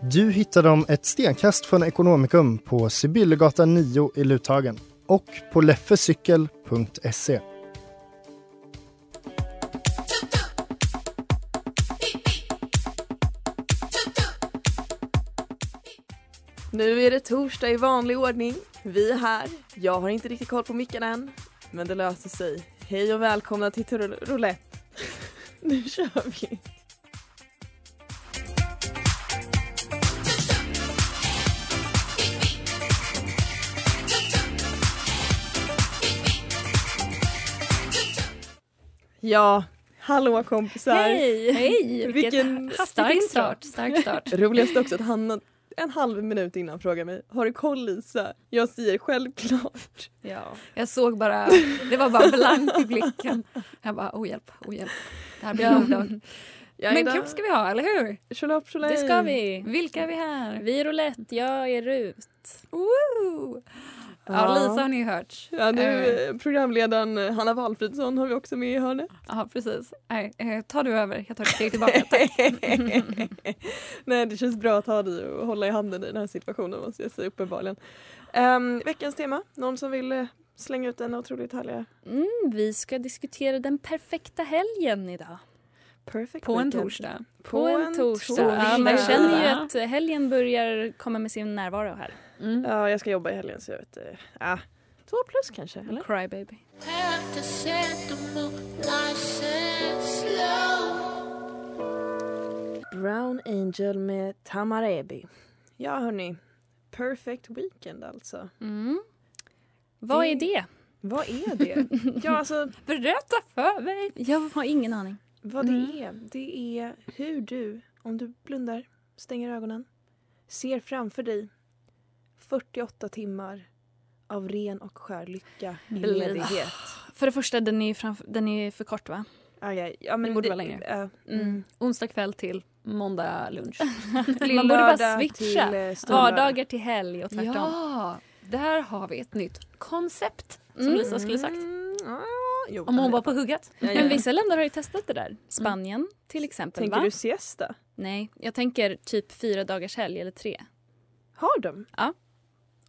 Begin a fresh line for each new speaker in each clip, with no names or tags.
Du hittar dem ett stenkast från Ekonomikum på Sibyllegatan 9 i Luthagen och på leffecykel.se.
Nu är det torsdag i vanlig ordning. Vi är här. Jag har inte riktigt koll på micken än, men det löser sig. Hej och välkomna till Tur- Roulette. nu kör vi. Ja, hallå kompisar.
Hej! Hej!
Vilken
stark start. Stark start.
Roligast också att Hanna en halv minut innan frågar mig Har du koll Lisa? Jag säger självklart.
Ja.
Jag såg bara, det var bara blankt i blicken. Jag bara, oh hjälp, oh hjälp. Det här blir en lång dag.
Jag
Men kul ska vi ha, eller hur?
Tjolahopp, tjolahej.
Det ska vi.
Vilka är Mm, vi här?
Vi är roulette, jag är Rut.
Woo! Ja, Lisa har ni hört.
Ja, nu,
Eh,
eh, programledaren Hanna Valfridsson har vi också med i hörnet.
Ja, precis. Nej, eh, ta du över, jag tar ett steg tillbaka. Tack.
Nej, det känns bra att ha dig och hålla i handen i den här situationen måste jag säga uppenbarligen. Ehm, veckans tema, någon som vill eh, slänga ut denna otroligt härliga
Mm, vi ska diskutera den perfekta helgen idag.
perfect
På en
weekend.
torsdag.
På,
På en torsdag. Ja, man
Vilken
känner ju
dag.
att helgen börjar komma med sin närvaro här.
Ja, jag ska jobba i helgen så jag vet eh, ah, Två plus kanske, eller?
Crybaby.
Have to set the mood nice and slow.
Brown Angel med Tamarebi. Ja, hörni. Perfect weekend alltså.
Mm. Vad är det?
Vad är det? ja, alltså
Berätta för mig!
Jag har ingen aning.
vad det
Mm.
är. Det är hur du, om du blundar, stänger ögonen, ser framför dig 48 timmar av ren och skär lycka i
Blir-
ledighet.
För det första, den är, ju framför, den är för kort va?
Ah, ja, ja, men
Det borde vara längre.
eh,
Mm. Onsdag kväll till måndag lunch.
Man borde bara
lördag
switcha.
till, eh, stor
Vardagar till helg och tvärtom.
Ja, där har vi ett nytt koncept som
Mm.
Lisa skulle sagt.
Mm, ja, jo,
Om hon var på hugget.
ja, ja.
Men vissa länder har ju testat det där. Spanien till exempel.
Tänker
va?
du siesta?
Nej, jag tänker typ fyra dagars helg eller tre.
Har de?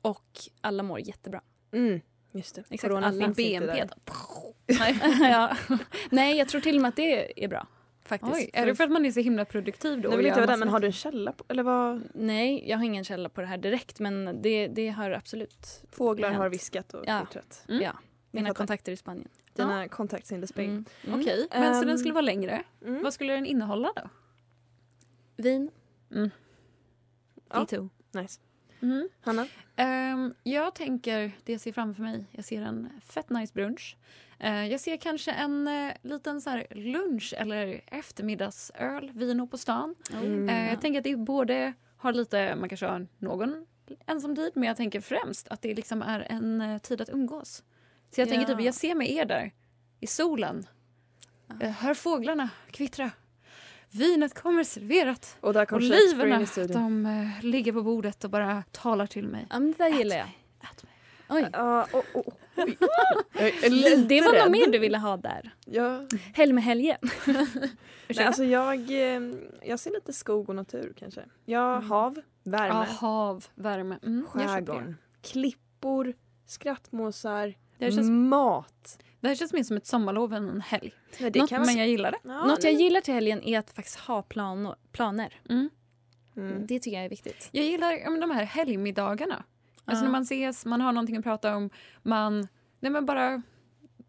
Och alla mår jättebra.
Mm, just det.
Exakt,
Corona
alla
finns inte
BNP
där.
då.
ja. Nej, jag tror till och med att det är bra. Faktiskt.
Oj, är det för att man är så himla produktiv då?
Nu
och
vill inte jag vara
gör
där,
massor
men
med-
har du en källa på, eller vad?
Nej, jag har ingen källa på det här direkt men det, det har absolut
Fåglar har
Hänt.
viskat och
Ja.
fortsatt.
Mm.
ja, mina
fattar.
kontakter i Spanien.
Dina contacts in the spain.
Mm. Mm.
Okej, men så
Ehm,
den skulle vara längre.
Mm.
Vad skulle den innehålla då?
Vin.
Ja.
Me too.
Nice. Hanna?
Ehm, jag tänker, det jag ser framför mig, jag ser en fett nice brunch. Eh, jag ser kanske en eh, liten så här lunch eller eftermiddagsöl, vino på stan.
Mm.
Eh, jag tänker att det är både har lite, man kanske har någon ensam tid, men jag tänker främst att det liksom är en eh, tid att umgås. Så jag tänker
Ja.
typ, jag ser mig er där i solen. Eh, hör fåglarna kvittra. Vinet kommer serverat.
Och där kom Shakespeare in
Oliverna,
i studion.
de eh, ligger på bordet och bara talar till mig.
Ja, men det där gillar jag.
Ät mig.
Oj.
Ja, och- och- oj. Jag är lite
Det var
rädd.
något mer du ville ha där.
Ja.
Helg med helge.
Nej, alltså jag, eh, jag ser lite skog och natur kanske. Ja, hav,
Mm. Ja,
värme,
hav, värme. Mm, jag köper det.
skärgården, klippor, skrattmåsar,
Det här, känns,
mat.
det här känns mer som ett sommarlov än en helg.
Nej,
Något, men jag gillar det.
Ja,
Något jag
nej.
gillar till helgen är att faktiskt ha planor. planer.
Mm.
Mm.
Det tycker jag är viktigt.
Jag gillar ja, men de här helgmiddagarna. Alltså
Ja.
när man ses, man har någonting att prata om, man... Nej men bara...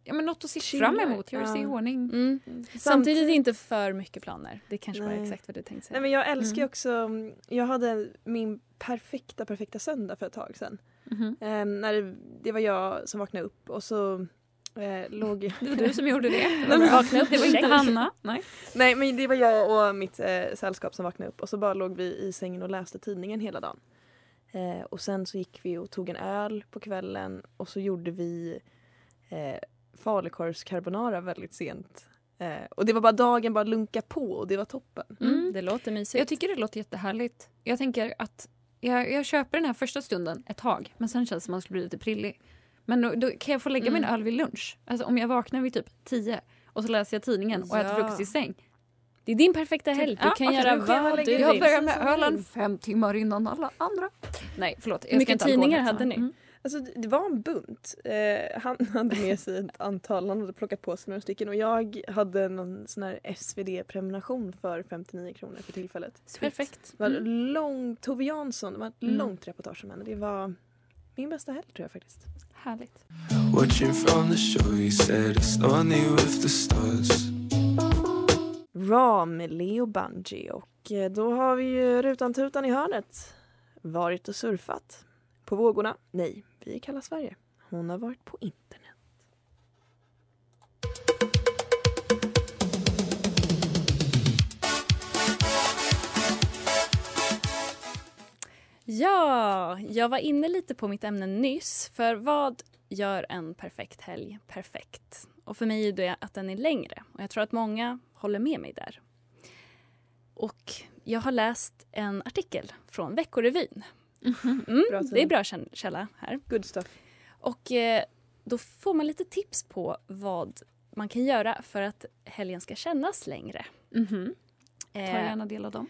Ja, men något att se
Chillar.
fram emot, göra sig i
Ja.
ordning.
Mm. Samtidigt inte för mycket planer. Det kanske var
Nej.
exakt vad du tänkte säga.
Nej men jag älskar ju
Mm.
också, mm, jag hade min perfekta, perfekta söndag för ett tag sedan.
Mhm.
Eh, när det, det var jag som vaknade upp och så eh, låg jag...
Det var du som gjorde det.
Nej, men-
Vakna upp, det var inte Hanna. Nej.
Nej men det var jag och mitt eh, sällskap som vaknade upp och så bara låg vi i sängen och läste tidningen hela dagen. Eh, och sen så gick vi och tog en öl på kvällen och så gjorde vi eh, falukorvscarbonara väldigt sent. Eh, och det var bara dagen bara lunka på och det var toppen.
Mm. Det låter mysigt.
Jag tycker det låter jättehärligt. Jag tänker att jag, jag köper den här första stunden ett tag, men sen känns det som att man skulle bli lite prillig. Men då, då kan jag få lägga min
Mm.
öl vid lunch? Alltså om jag vaknar vid typ 10 och så läser jag tidningen och äter
Ja.
frukost i säng.
det är din perfekta helg. Du
Ja,
kan
okej,
göra
Typ- då kan jag
vad du
lägga-
vill.
Jag börjar med
Som vill.
ölen fem timmar innan alla andra. Nej, förlåt. Jag
Hur
ska
mycket
inte
tidningar
alkoholhetsa.
hade ni?
Mm.
Alltså det det var en bunt. Eh, han hade med sig ett antal, han hade plockat på sig några stycken och jag hade någon sån här SvD-prenumeration för 59 kronor för tillfället.
Perfekt.
Det var
Mm.
lång, Tove Jansson, det var ett
Mm.
långt reportage om henne. Det var min bästa helg tror jag faktiskt.
Härligt.
Watching from the show, you said it's lonely with the stars.
Ra med Leo Bungy och eh, då har vi ju Rutan-tutan i hörnet. Varit och surfat. På vågorna? Nej, vi är kalla Sverige. Hon har varit på internet.
Ja, jag var inne lite på mitt ämne nyss. För vad gör en perfekt helg perfekt? Och för mig är det att den är längre. Och jag tror att många håller med mig där. Och jag har läst en artikel från Veckorevyn. Mm,
Bra
det är
tidning.
bra kän- källa här.
Good stuff.
Och eh, då får man lite tips på vad man kan göra för att helgen ska kännas längre.
Mm-hmm. Ta
Eh,
gärna del av dem.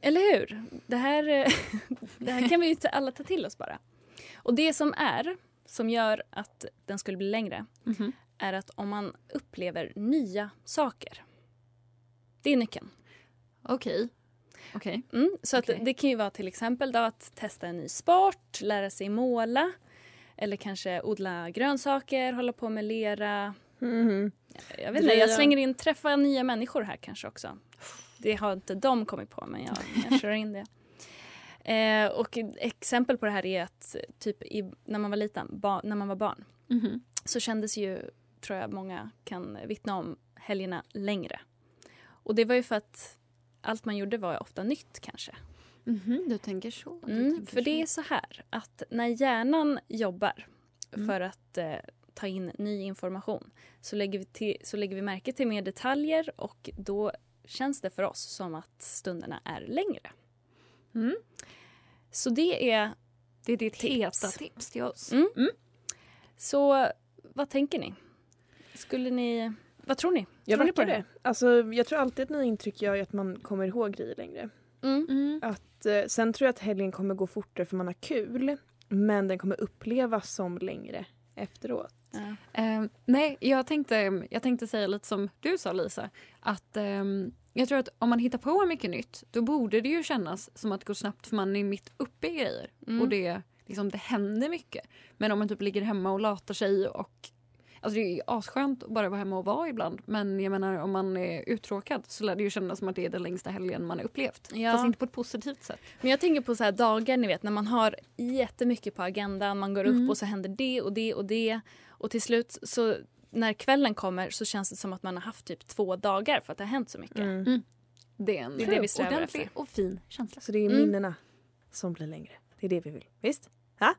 eller hur? Det här, eh, det här kan vi ju inte alla ta till oss bara. Och det som är, som gör att den skulle bli längre,
Mhm.
är att om man upplever nya saker. Det är nyckeln.
Okej. Okej.
Mm, så
Okej.
att det kan ju vara till exempel då att testa en ny sport, lära sig måla eller kanske odla grönsaker, hålla på med lera.
Mhm.
Jag vet inte, jag
Dreja.
slänger in träffa nya människor här kanske också. Det har inte de kommit på, men jag, jag kör in det. Eh, och ett exempel på det här är att typ i, när man var liten, ba, när man var barn,
Mhm.
så kändes ju, tror jag många kan vittna om, helgerna längre. Och det var ju för att allt man gjorde var ofta nytt kanske.
Mhm, Du tänker så.
Mm-hmm.
Du typ
Mm,
tänker
för det är
så.
så här att när hjärnan jobbar
Mm.
för att eh, ta in ny information så lägger, vi till, så lägger vi märke till mer detaljer och då känns det för oss som att stunderna är längre.
Mm.
Så det är...
Det är ditt
Tips.
heta tips till oss.
Mm. Så vad tänker ni? Skulle ni... Vad tror ni?
Jag
tror ni
backar det. Alltså, jag tror alltid att nya intryck gör ju att man kommer ihåg grejer längre.
Mm.
Mm.
Att, eh, sen tror jag att helgen kommer gå fortare för man har kul. Men den kommer upplevas som längre efteråt.
Ja.
Ehm, nej, jag tänkte, jag tänkte säga lite som du sa, Lisa. Att, ehm, jag tror att om man hittar på mycket nytt då borde det ju kännas som att det går snabbt för man är mitt uppe i grejer.
Mm.
Och det, liksom, det händer mycket. Men om man typ ligger hemma och latar sig och... Alltså det är ju asskönt att bara vara hemma och vara ibland men jag menar om man är uttråkad så lär det ju kännas som att det är den längsta helgen man har upplevt.
Ja.
Fast inte på ett positivt sätt.
Men jag tänker på så här dagar ni vet när man har jättemycket på agendan. Man går
Mm.
upp och så händer det och det och det. Och till slut så när kvällen kommer så känns det som att man har haft typ två dagar för att det har hänt så mycket.
Mm.
Det är en
Det är det vi strävar
ordentlig
efter.
och fin känsla.
Så det är
Mm.
minnena som blir längre. Det är det vi vill. Visst?
Ja.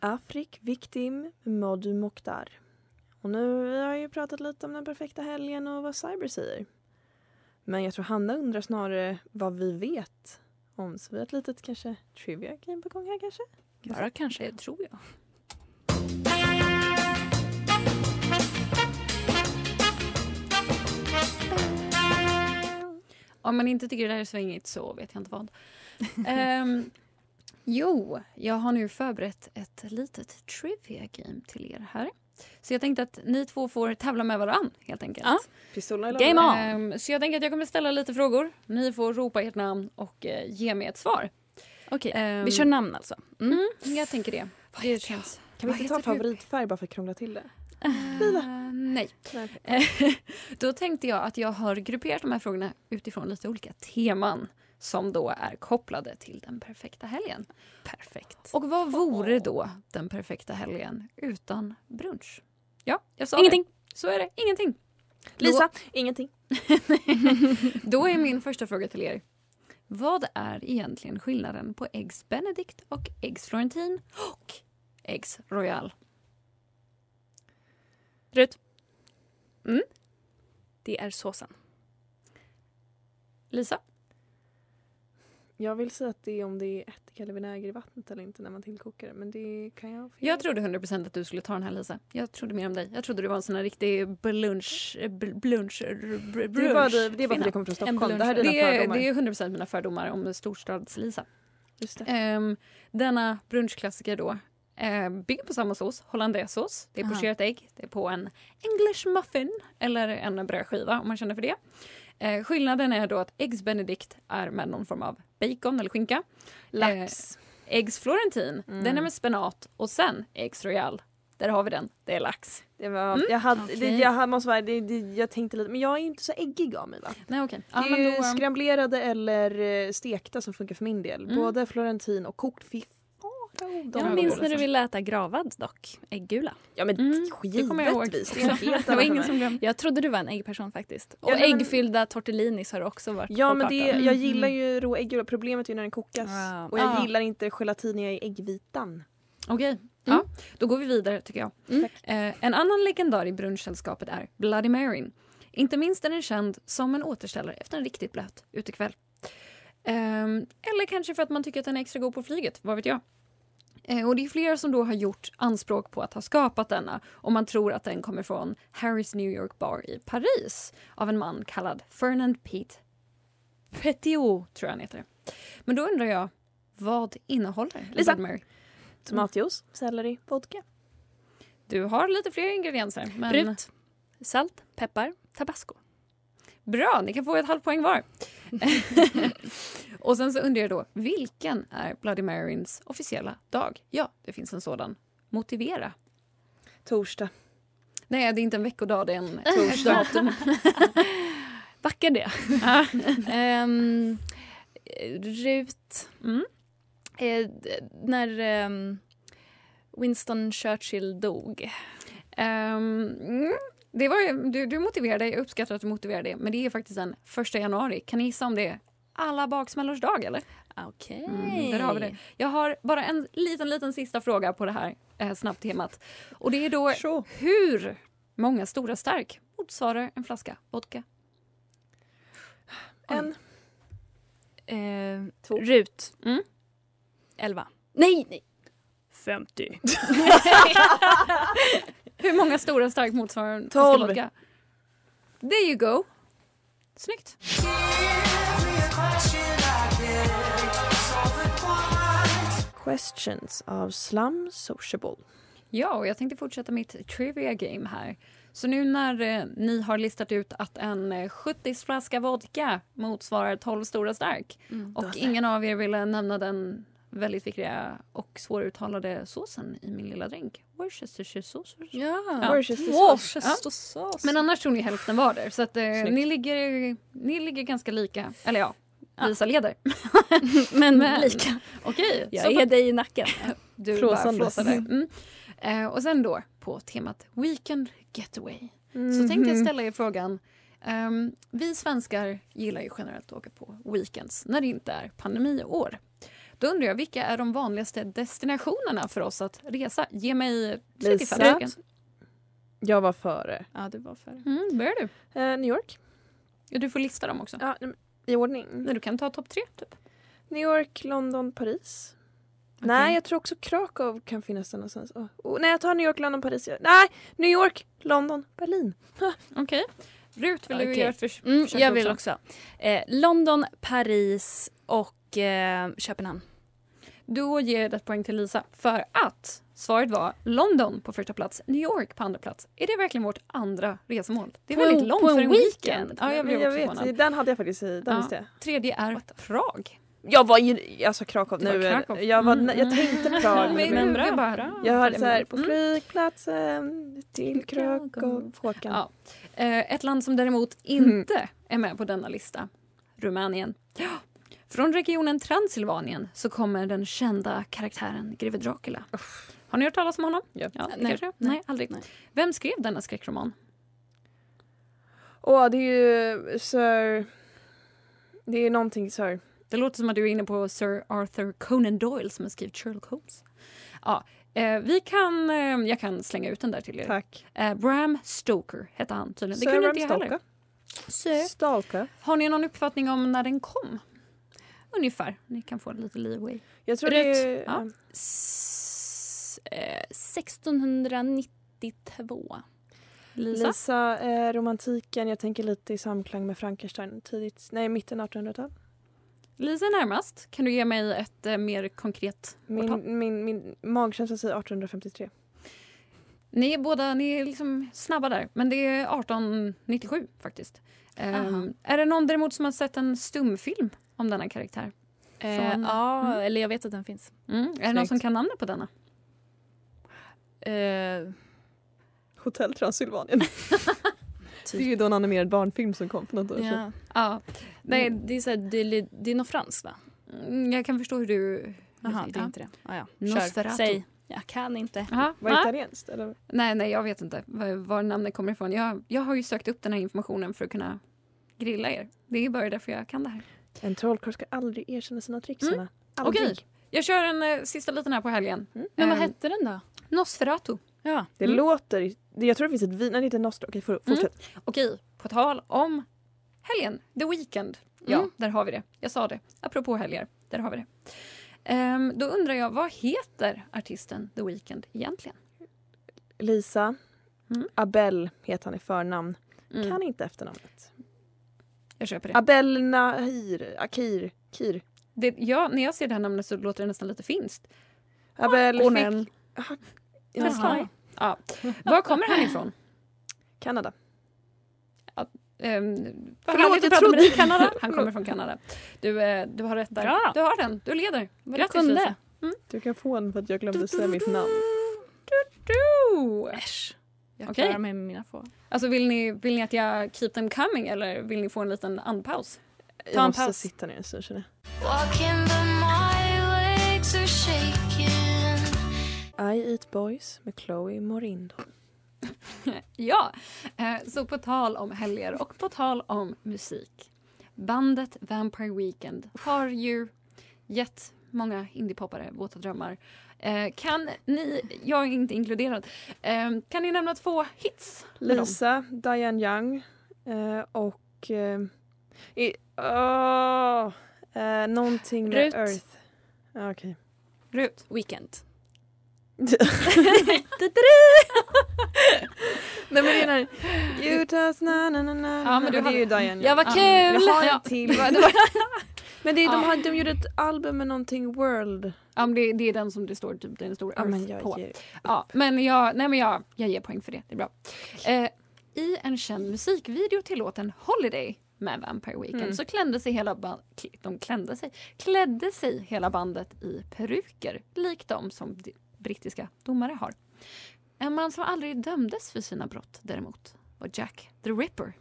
Afrik Victim Modu Mokhtar. Och nu vi har ju pratat lite om den perfekta helgen och vad Cyber säger. Men jag tror Hanna undrar snarare vad vi vet om. Så vi har ett litet kanske trivia game på gång här kanske?
Bara kanske. Det tror jag.
Om man inte tycker det där är svängigt så vet jag inte vad. Ehm, jo, jag har nu förberett ett litet trivia game till er här. Så jag tänkte att ni två får tävla med varann helt enkelt.
Ja.
Pistolerna är
Game
laddade.
on!
Ehm, så jag tänker att jag kommer ställa lite frågor. Ni får ropa ert namn och eh, ge mig ett svar.
Okej,
Ehm,
Eh, vi kör namn alltså. Mm.
Mm, jag tänker det.
Vad
Det
heter
känns...
Kan vi
Vad
inte ta en
heter du?
favoritfärg bara för att krångla till det?
Eh, nej. Då tänkte jag att jag har grupperat de här frågorna utifrån lite olika teman som då är kopplade till den perfekta helgen.
Perfekt.
Och vad vore då den perfekta helgen utan brunch? Ja, jag sa
Ingenting.
Det. Så är det. Ingenting.
Lisa, ingenting.
Då är min första fråga till er. Vad är egentligen skillnaden på Eggs Benedict och Eggs Florentin och Eggs Royal?
Rut. Mm. Det är såsen.
Lisa?
Jag vill säga att det är om det är ättika eller vinäger i vattnet eller inte när man tillkokar det. Men det kan jag ha fel.
Jag trodde 100% att du skulle ta den här Lisa. Jag trodde mer om dig. Jag trodde du var en sån här riktig blunch... eh, bl- blunch... r- br- brunch
det är bara, det, det är bara för att
kvinna.
jag kommer från
En
Stockholm. Det här är
blunch.
dina
det
fördomar.
är, det är 100% mina fördomar om storstads-Lisa.
Just det.
Ehm, denna brunchklassiker då eh, bygger på samma sås, hollandaisesås. Det är
Aha.
pocherat ägg, det är på en English muffin eller en brödskiva om man känner för det. Eh, skillnaden är då att Eggs Benedict är med någon form av bacon eller skinka.
Lax.
Eh, Eggs Florentin,
Mm.
den är med spenat och sen Eggs Royal. Där har vi den, det är lax.
Det var,
Mm.
jag, hade, det,
Okej.
jag hade- måste vara, det, det, jag tänkte lite, men jag är ju inte så äggig av mig va?
Nej okej. Ja,
det är
men
ju
då, ehm,
skramlerade eller eh, stekta som funkar för min del.
Mm.
Både florentin och kokt fiff. De
Ja,
Jag
var
minns
goda.
när du ville äta gravad dock. Äggula.
Ja men
Mm, det kommer jag ihåg.
givetvis, det är något helt
det var
annat
ingen
för
som
mig.
glömde.
Jag trodde du var en äggperson faktiskt. Och
Ja, nej, men-
äggfyllda tortellinis har också varit
Ja
på
men det,
kartan.
jag gillar ju rå äggula, problemet är ju när den kokas.
Ah.
Och jag
Mm. Ah.
gillar inte gelatiniga i äggvitan.
Okej. Ja, då går vi vidare tycker jag. Eh, en annan legendar i brunchsällskapet är Bloody Mary. Inte minst är den känd som en återställare efter en riktigt blöt utekväll. Ehm, eller kanske för att man tycker att den är extra god på flyget, vad vet jag. Eh, och det är flera som då har gjort anspråk på att ha skapat denna och man tror att den kommer från Harrys New York Bar i Paris av en man kallad Fernand Pete Petiot, tror jag han heter. Men då undrar jag, vad innehåller
Lisa.
Bloody Mary?
Tomatjuice, selleri, vodka.
Du har lite fler ingredienser. Men...
Mm. Rut. Salt, peppar, tabasco.
Bra, ni kan få ett halvt poäng var. och sen så undrar jag då, vilken är Bloody Marys officiella dag? Ja, det finns en sådan. Motivera.
Torsdag.
Nej, det är inte en veckodag, det är en torsdag.
Backa det. Ehm, Rut.
Mm.
Eh, d- när ehm, Winston Churchill dog.
Ehm, mm, det var, ju- du, du motiverade, jag uppskattar att du motiverade det, men det är faktiskt den första januari. Kan ni gissa om det är alla baksmällors dag eller?
Okej.
Mm, där har vi det. Jag har bara en liten, liten sista fråga på det här eh, snabbtemat. Och det är då
Så.
hur många stora stark motsvarar en flaska vodka?
En.
Eh,
Två.
Rut.
Mm.
Elva. Nej, nej. 50.
Hur många stora stark motsvarar en
Tolv.
flaska vodka? There you go. Snyggt.
Questions av Slum Sociable.
Ja, och jag tänkte fortsätta mitt trivia game här. Så nu när eh, ni har listat ut att en eh, 70-flaska vodka motsvarar 12 stora stark
Mm.
och ingen av er ville nämna den väldigt viktiga och svåruttalade såsen i min lilla drink, Worcestershire sauce.
Ja.
Where is this
Wow.
sauce?
Men annars tror ni hälften var där, så att, eh,
Snyggt.
ni, ligger, ni ligger ganska lika. Eller ja, Lisa leder.
Men,
Men-
lika.
Okej, så
Jag är dig i nacken.
Du bara
Flåsandes.
flåsade. Mm. Eh, och sen då på temat Weekend Getaway. Så tänkte
Mhm.
jag ställa er frågan. ehm, vi svenskar gillar ju generellt att åka på weekends när det inte är pandemiår. Då undrar jag, vilka är de vanligaste destinationerna för oss att resa? Ge mig 35
Lisa.
stycken.
Jag var före.
Ja, det var för.
Mm, börjar du?
Eh, New York.
Ja, Du får lista dem också.
Ja, nej, men I ordning.
Nej, du kan ta topp tre. Typ.
New York, London, Paris. Nej, jag tror också Krakow kan finnas där någonstans. Åh, åh, nej, jag tar New York, London, Paris. Jag- Nej, New York, London, Berlin.
Okej. Rut, vill du
Okej.
göra ett förs-
Mm,
försök
jag vill också. Eh, London, Paris och eh, Köpenhamn.
Då ger jag ett poäng till Lisa för att Svaret var London på första plats, New York på andra plats. Är det verkligen vårt andra resmål? Det är
På en-
väldigt långt
på en
för en
weekend?
weekend. Ja, jag
Men
blev
jag
också
vet,
förvånad.
den hade jag faktiskt i, den
Ja.
visste jag.
Tredje är Prag.
Jag var ju, alltså Krakow
Det var
nu. är-
Krakow. Mm.
Jag, var, jag tänkte Prag.
Men,
men
bra. Bara,
jag hörde så här, på
Mm.
flygplatsen till Krakow. Håkan.
Ja. Eh, Ett land som däremot inte är med på denna lista, Rumänien. Ja. Från regionen Transylvanien så kommer den kända karaktären greve Dracula. Har ni hört talas om honom?
Ja.
nej,
Nej,
kanske? Nej,
nej,
aldrig.
nej.
Vem skrev denna skräckroman?
Åh, det är ju Sir... Det är någonting Sir.
Det låter som att du är inne på Sir Arthur Conan Doyle som har skrivit Sherlock Holmes. Ja, eh, vi kan, eh, jag kan slänga ut den där till er.
Tack.
Eh, Bram Stoker hette han tydligen.
Sir
Det kunde
Bram
inte jag heller.
Stoker.
Sir.
Stalka.
Har ni någon uppfattning om när den kom? Ungefär. Ni kan få lite leeway.
Jag tror
Rätt.
det är...
Ja.
S- eh, 1692.
Lisa?
Lisa, eh, romantiken, jag tänker lite i samklang med Frankenstein. Tidigt, nej mitten av 1800-tal.
Lisa är närmast. Kan du ge mig ett eh, mer konkret årtal?
Min, min, min magkänsla säger 1853.
Ni är båda ni är liksom snabba där, men det är 1897 faktiskt. Ehm,
Aha.
är det någon däremot som har sett en stumfilm om denna karaktär?
Eh,
Från-
ja,
mm.
eller jag vet att den finns.
Mm. Är det någon
Snyggt.
som kan namnet på denna?
Eh,
Hotell Transylvanien. det är ju då en animerad barnfilm som kom för något år sedan.
typ, ja.
Ja,
Nej,
nej,
det är, så här, det, är- det är något franskt va?
mm, jag kan förstå hur du...
Jaha, det är
ja.
inte det. Ah, ja.
Nosferatu.
Kör, säg. Jag kan inte.
Aha,
Var
va?
det italienskt eller?
Nej, nej, jag vet inte var, var namnet kommer ifrån. Jag, jag har ju sökt upp den här informationen för att kunna grilla er. Det är bara därför jag kan det här.
En trollkarl ska aldrig erkänna sina tricks.
Mm.
Anna. Aldrig.
Okej. Jag kör en eh, sista liten här på helgen.
Men vad
Ehm,
hette den då?
Nosferatu.
Ja.
Det
Mm.
låter... det- Jag tror det finns ett vin... Nej, det är inte Nostra. Okej, for- fortsätt.
Okej, på tal om helgen, the weekend. Ja,
Mm.
där har vi det. Jag sa det. Apropå helger, där har vi det. Ehm, då undrar jag, vad heter artisten The Weeknd egentligen?
Lisa.
Mm.
Abel heter han i förnamn.
Mm,
Kan inte efternamnet.
Jag köper det.
Abel Nahir. Akir. Kir.
det ja, när jag ser det här namnet så låter det nästan lite finskt.
Abel
Ornell.
fick... Aha.
Jaha. Ja. Var kommer han ifrån?
Kanada.
Ehm, vad
Förlåt,
härligt att
jag
prata med
trodde-
dig. Kanada. Han kommer från Kanada. Du, eh, du har rätt där.
Bra.
Du har den. Du leder.
Vad du
Grattis, Lisa.
kunde.
Du kan få en för att jag glömde säga mitt namn.
Du.
Äsch. Jag
Okej.
klarar mig med mina få.
Alltså, vill, ni, vill ni att jag keep them coming eller vill ni få en liten andpaus?
Jag
en
måste
paus.
sitta ner en stund känner
Walking, but my legs are shaking.
jag. I Eat Boys med Chloe Morindo.
Ja, eh, så på tal om helger och på tal om musik. Bandet Vampire Weekend har ju gett många indiepoppare våta drömmar. Eh, kan ni, jag är inte inkluderad, eh, kan ni nämna två hits? med dem?
Lisa, Diane Young eh, och... Eh, i, åh, eh, någonting med
Rut.
Earth. Ja, Okej.
Rut.
Weekend.
Nej men det är den här... You just na na na na.
Ja, men du
det är
hade-
ju Diane Young.
Ja, vad
Ah,
kul!
Jag har
Ja.
en till.
Det var-
Men det är,
Ja.
de, har, de gjorde ett album med någonting World.
Ja, men det, det är den som det står typ den stora
Ja, men
Earth
jag
på.
ger
Ja, men jag, nej, men jag, jag ger poäng för det. Det är bra. Eh, I en känd musikvideo till låten Holiday med Vampire Weekend
Mm.
så klädde sig hela ba- kl- de klädde sig, klädde sig hela bandet i peruker likt de som d- brittiska domare har. En man som aldrig dömdes för sina brott däremot var Jack the Ripper.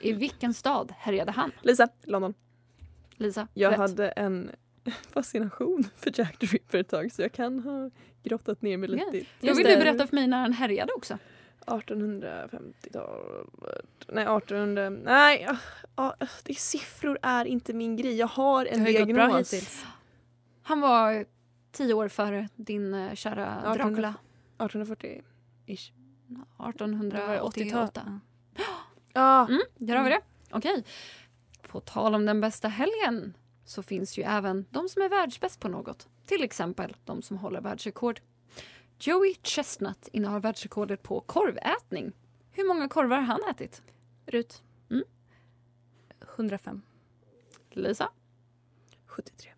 I vilken stad härjade han?
Lisa, London.
Lisa,
Jag
rätt.
hade en fascination för Jack the Ripper ett tag så jag kan ha grottat ner mig lite
Ja.
i
Då vill du berätta för mig när han härjade också.
1850-tal... Nej, 1800... Nej, ah, ah, det, siffror är inte min grej. Jag har en
Det har ju gått bra
diagnos.
hittills.
Han var tio år före din eh, kära
Ja,
Dracula.
1840-ish.
1888.
Ja,
Mm, där har vi det. Okej. På tal om den bästa helgen så finns ju även de som är världsbäst på något. Till exempel de som håller världsrekord. Joey Chestnut innehar världsrekordet på korvätning. Hur många korvar har han ätit?
Rut.
Mm.
105.
Lisa?
73.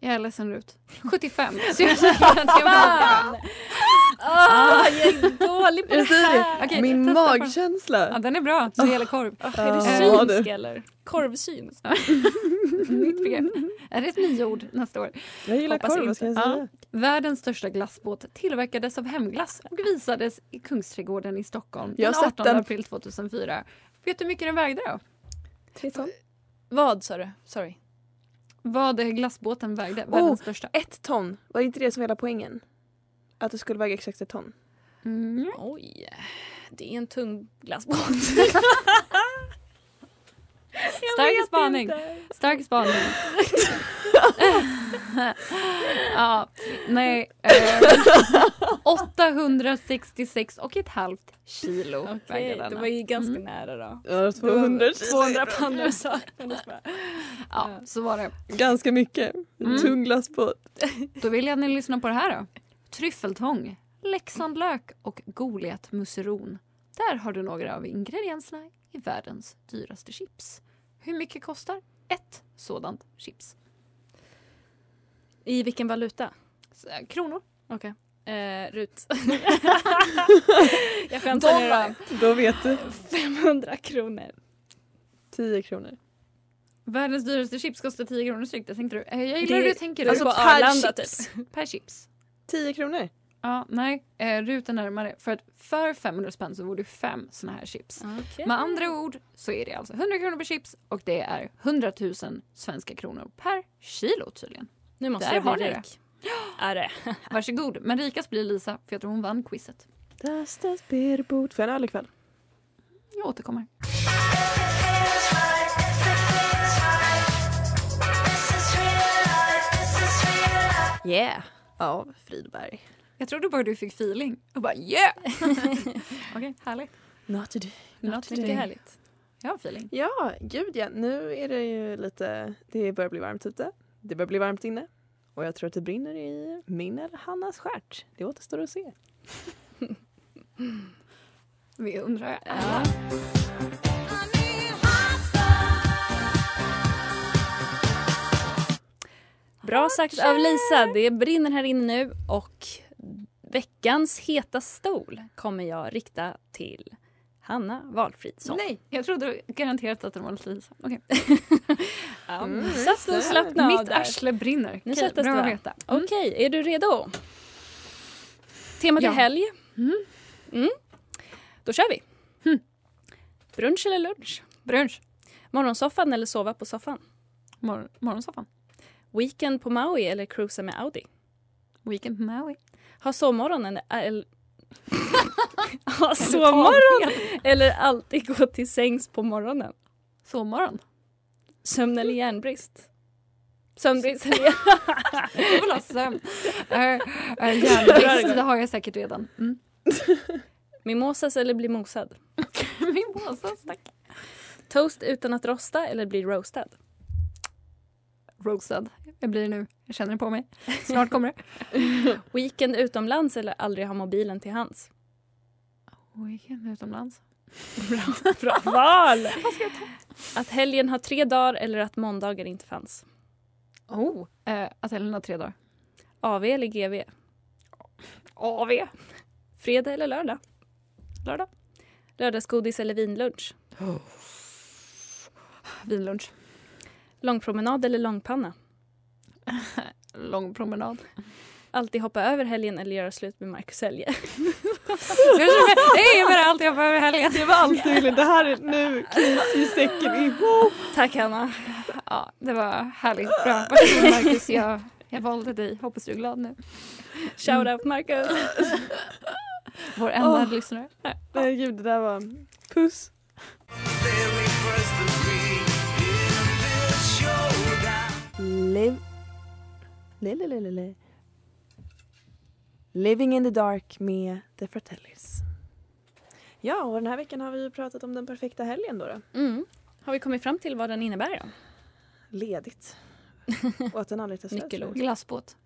Jag är ledsen Rut. 75. Så jag känner att jag
Fan! Åh, jag är dålig på
Jag
det
säger det.
här.
Okej,
Min
testa på-
magkänsla.
Ja, den är bra. Så det gäller korv.
Åh, är du
Ah. Ja, du.
synsk eller? Korvsyns?
Nytt begrepp. Är det ett nyord nästa år?
Jag gillar
Hoppas
korv, vad ska jag
inte.
säga?
Världens största glassbåt tillverkades av hemglass och visades i Kungsträdgården i Stockholm
Jag har
den
sett
18
den.
april 2004. Vet du hur mycket den vägde då?
Tre ton.
Vad sa du? Sorry.
Vad glassbåten vägde? Världens största.
Ett ton, var det inte det som var hela poängen? Att det skulle väga exakt ett ton.
Mm.
Oj, det är en tung glassbåt.
Stark spaning. Stark spaning. ja, nej. Eh, 866 och ett halvt kilo vägde
Okej,
denna.
det var ju ganska nära då.
Ja,
Det var
200
200 pannor saknades bara.
Ja, så var det.
Ganska mycket.
Mm.
Tung glassbåt.
Då vill jag att ni lyssnar på det här då. Tryffeltång, Leksandlök och Goliatmusseron. Där har du några av ingredienserna i världens dyraste chips. Hur mycket kostar ett sådant chips?
I vilken valuta?
Så, eh, Kronor.
Okej. Eh, Rut. Jag skämtar nu då.
Då vet du.
500 kronor.
10 kronor.
Världens dyraste chips kostar 10 kronor styck. Det tänkte du. Eh, Jag gillar
Det-
hur du tänker.
Alltså
Rut.
på Arlanda
chips.
typ.
per chips.
10 kronor.
Ja, nej. Eh, Ruta närmare. För att för 500 spänn så får du fem såna här chips. Med andra ord så är det alltså 100 kronor per chips och det är 100 000 svenska kronor per kilo tydligen.
Nu måste
Där
jag
har
bli
ni det.
rik. Är det?
Varsågod, men rikast blir Lisa för jag tror hon vann quizet.
Dastas berbot. Får jag en öl ikväll?
Jag återkommer.
Yeah. Av Fridberg.
Jag trodde bara du fick feeling och bara yeah! Okej, härligt.
Not today.
Not
Mycket härligt.
Jag har feeling.
Ja, gud ja. Nu är det ju lite... Det börjar bli varmt ute. Det börjar bli varmt inne. Och jag tror att det brinner i min eller Hannas stjärt. Det återstår att se.
Vi undrar.
Ja. Bra sagt av Lisa. Det brinner här inne nu och veckans heta stol kommer jag rikta till Hanna Valfridsson.
Nej, jag trodde garanterat att den var Lisa. Okej.
Ja,
Mm,
satt och
just det.
slappna av
Mitt
där.
arsle brinner.
Nu
Okej,
sätter
bra
jag.
att veta. Mm.
Okej, är du redo? Temat
Ja.
är helg.
Mm.
Mm. Då kör vi. Brunch eller lunch?
Brunch.
Morgonsoffan eller sova på soffan?
Mor- morgonsoffan.
Weekend på Maui eller cruisa med Audi?
Weekend på Maui.
Ha sovmorgon eller... eller- ha sovmorgon eller alltid gå till sängs på morgonen?
Sovmorgon.
Sömn eller järnbrist? Sömnbrist eller järn-
Jag vill ha sömn. Eh, eh, Järnbrist, det har jag säkert redan. Mm.
Mimosas eller bli mosad?
Min påse, stack.
Toast utan att rosta eller bli roastad?
Roasted. Jag blir det nu. Jag känner det på mig. Snart kommer det.
Weekend utomlands eller aldrig ha mobilen till hands?
Weekend utomlands.
Bra val! Att helgen har tre dagar eller att måndagar inte fanns?
Oh. Eh, att Ellen har tre dagar.
AV eller GV?
AV.
Fredag eller lördag?
Lördag.
Lördagsgodis eller vinlunch?
Vinlunch.
Långpromenad eller långpanna?
Lång promenad.
Alltid hoppa över helgen eller göra slut med Marcus Elje?
Nej, jag menar allt jag behöver i helgen.
Det var allt du ville. Det här är nu knyts ju säcken ihop.
Tack Hanna!
Ja, det var härligt. Bra. Varsågod Marcus. Jag, jag valde dig. Hoppas du är glad nu.
Shoutout Marcus!
Vår enda
Åh.
lyssnare.
Nej, gud, det där var... Puss. Live... Le, le, le, le, le. Living in the dark med The Fratellis. Ja, och den här veckan har vi ju pratat om den perfekta helgen då. då.
Mm. Har vi kommit fram till vad den innebär då?
Ledigt. Och att den aldrig tar slut.
Nyckelord.
Glassbåt.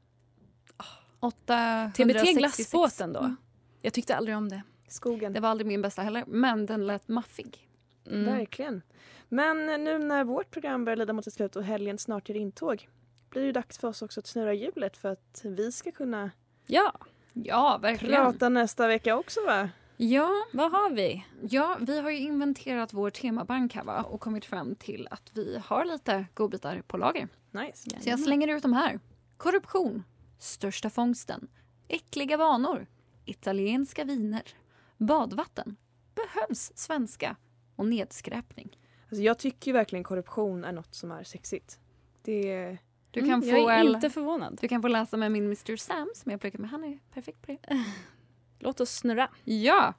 866.
TBT Glassbåten då? Jag tyckte aldrig om det.
Skogen.
Det var aldrig min bästa heller, men den lät maffig.
Mm.
Verkligen. Men nu när vårt program börjar lida mot sitt slut och helgen snart gör intåg blir det dags för oss också att snurra hjulet för att vi ska kunna
Ja.
Ja, verkligen.
prata nästa vecka också va?
Ja,
Vad har vi?
ja, vi har ju inventerat vår temabank här va? och kommit fram till att vi har lite godbitar på lager.
Nice.
Så jag slänger ut de här. Korruption. Största fångsten. Äckliga vanor. Italienska viner. Badvatten. Behövs svenska. Och nedskräpning.
Alltså, jag tycker ju verkligen korruption är något som är sexigt. Det är...
Du kan,
Mm,
få,
jag är
äl-
inte förvånad.
du kan få läsa med min Mr Sam som jag pluggar med. Han är perfekt på det.
Låt oss snurra.
Ja!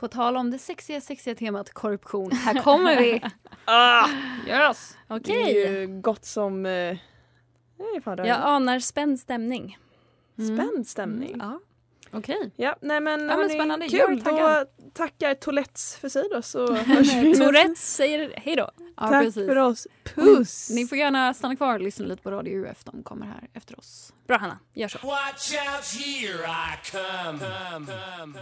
På tal om det sexiga, sexiga temat korruption. Här kommer vi!
Ah,
Yes!
Det är ju gott som... Eh, nej, fan, det är
Jag anar spänd stämning.
Spänd stämning.
Mm. Ja. Okej.
Ja, nej men,
men
hörni,
spännande. Jag
kul.
är
Då
taggad.
tackar Toulettes för sig då så hörs
Mm.
vi.
Tourettes säger hej då.
Ja,
Tack
precis.
för oss. Puss!
Ni får gärna stanna kvar och lyssna lite på Radio UF. De kommer här efter oss.
Bra Hanna, gör så.
Watch out, here I Ah, come.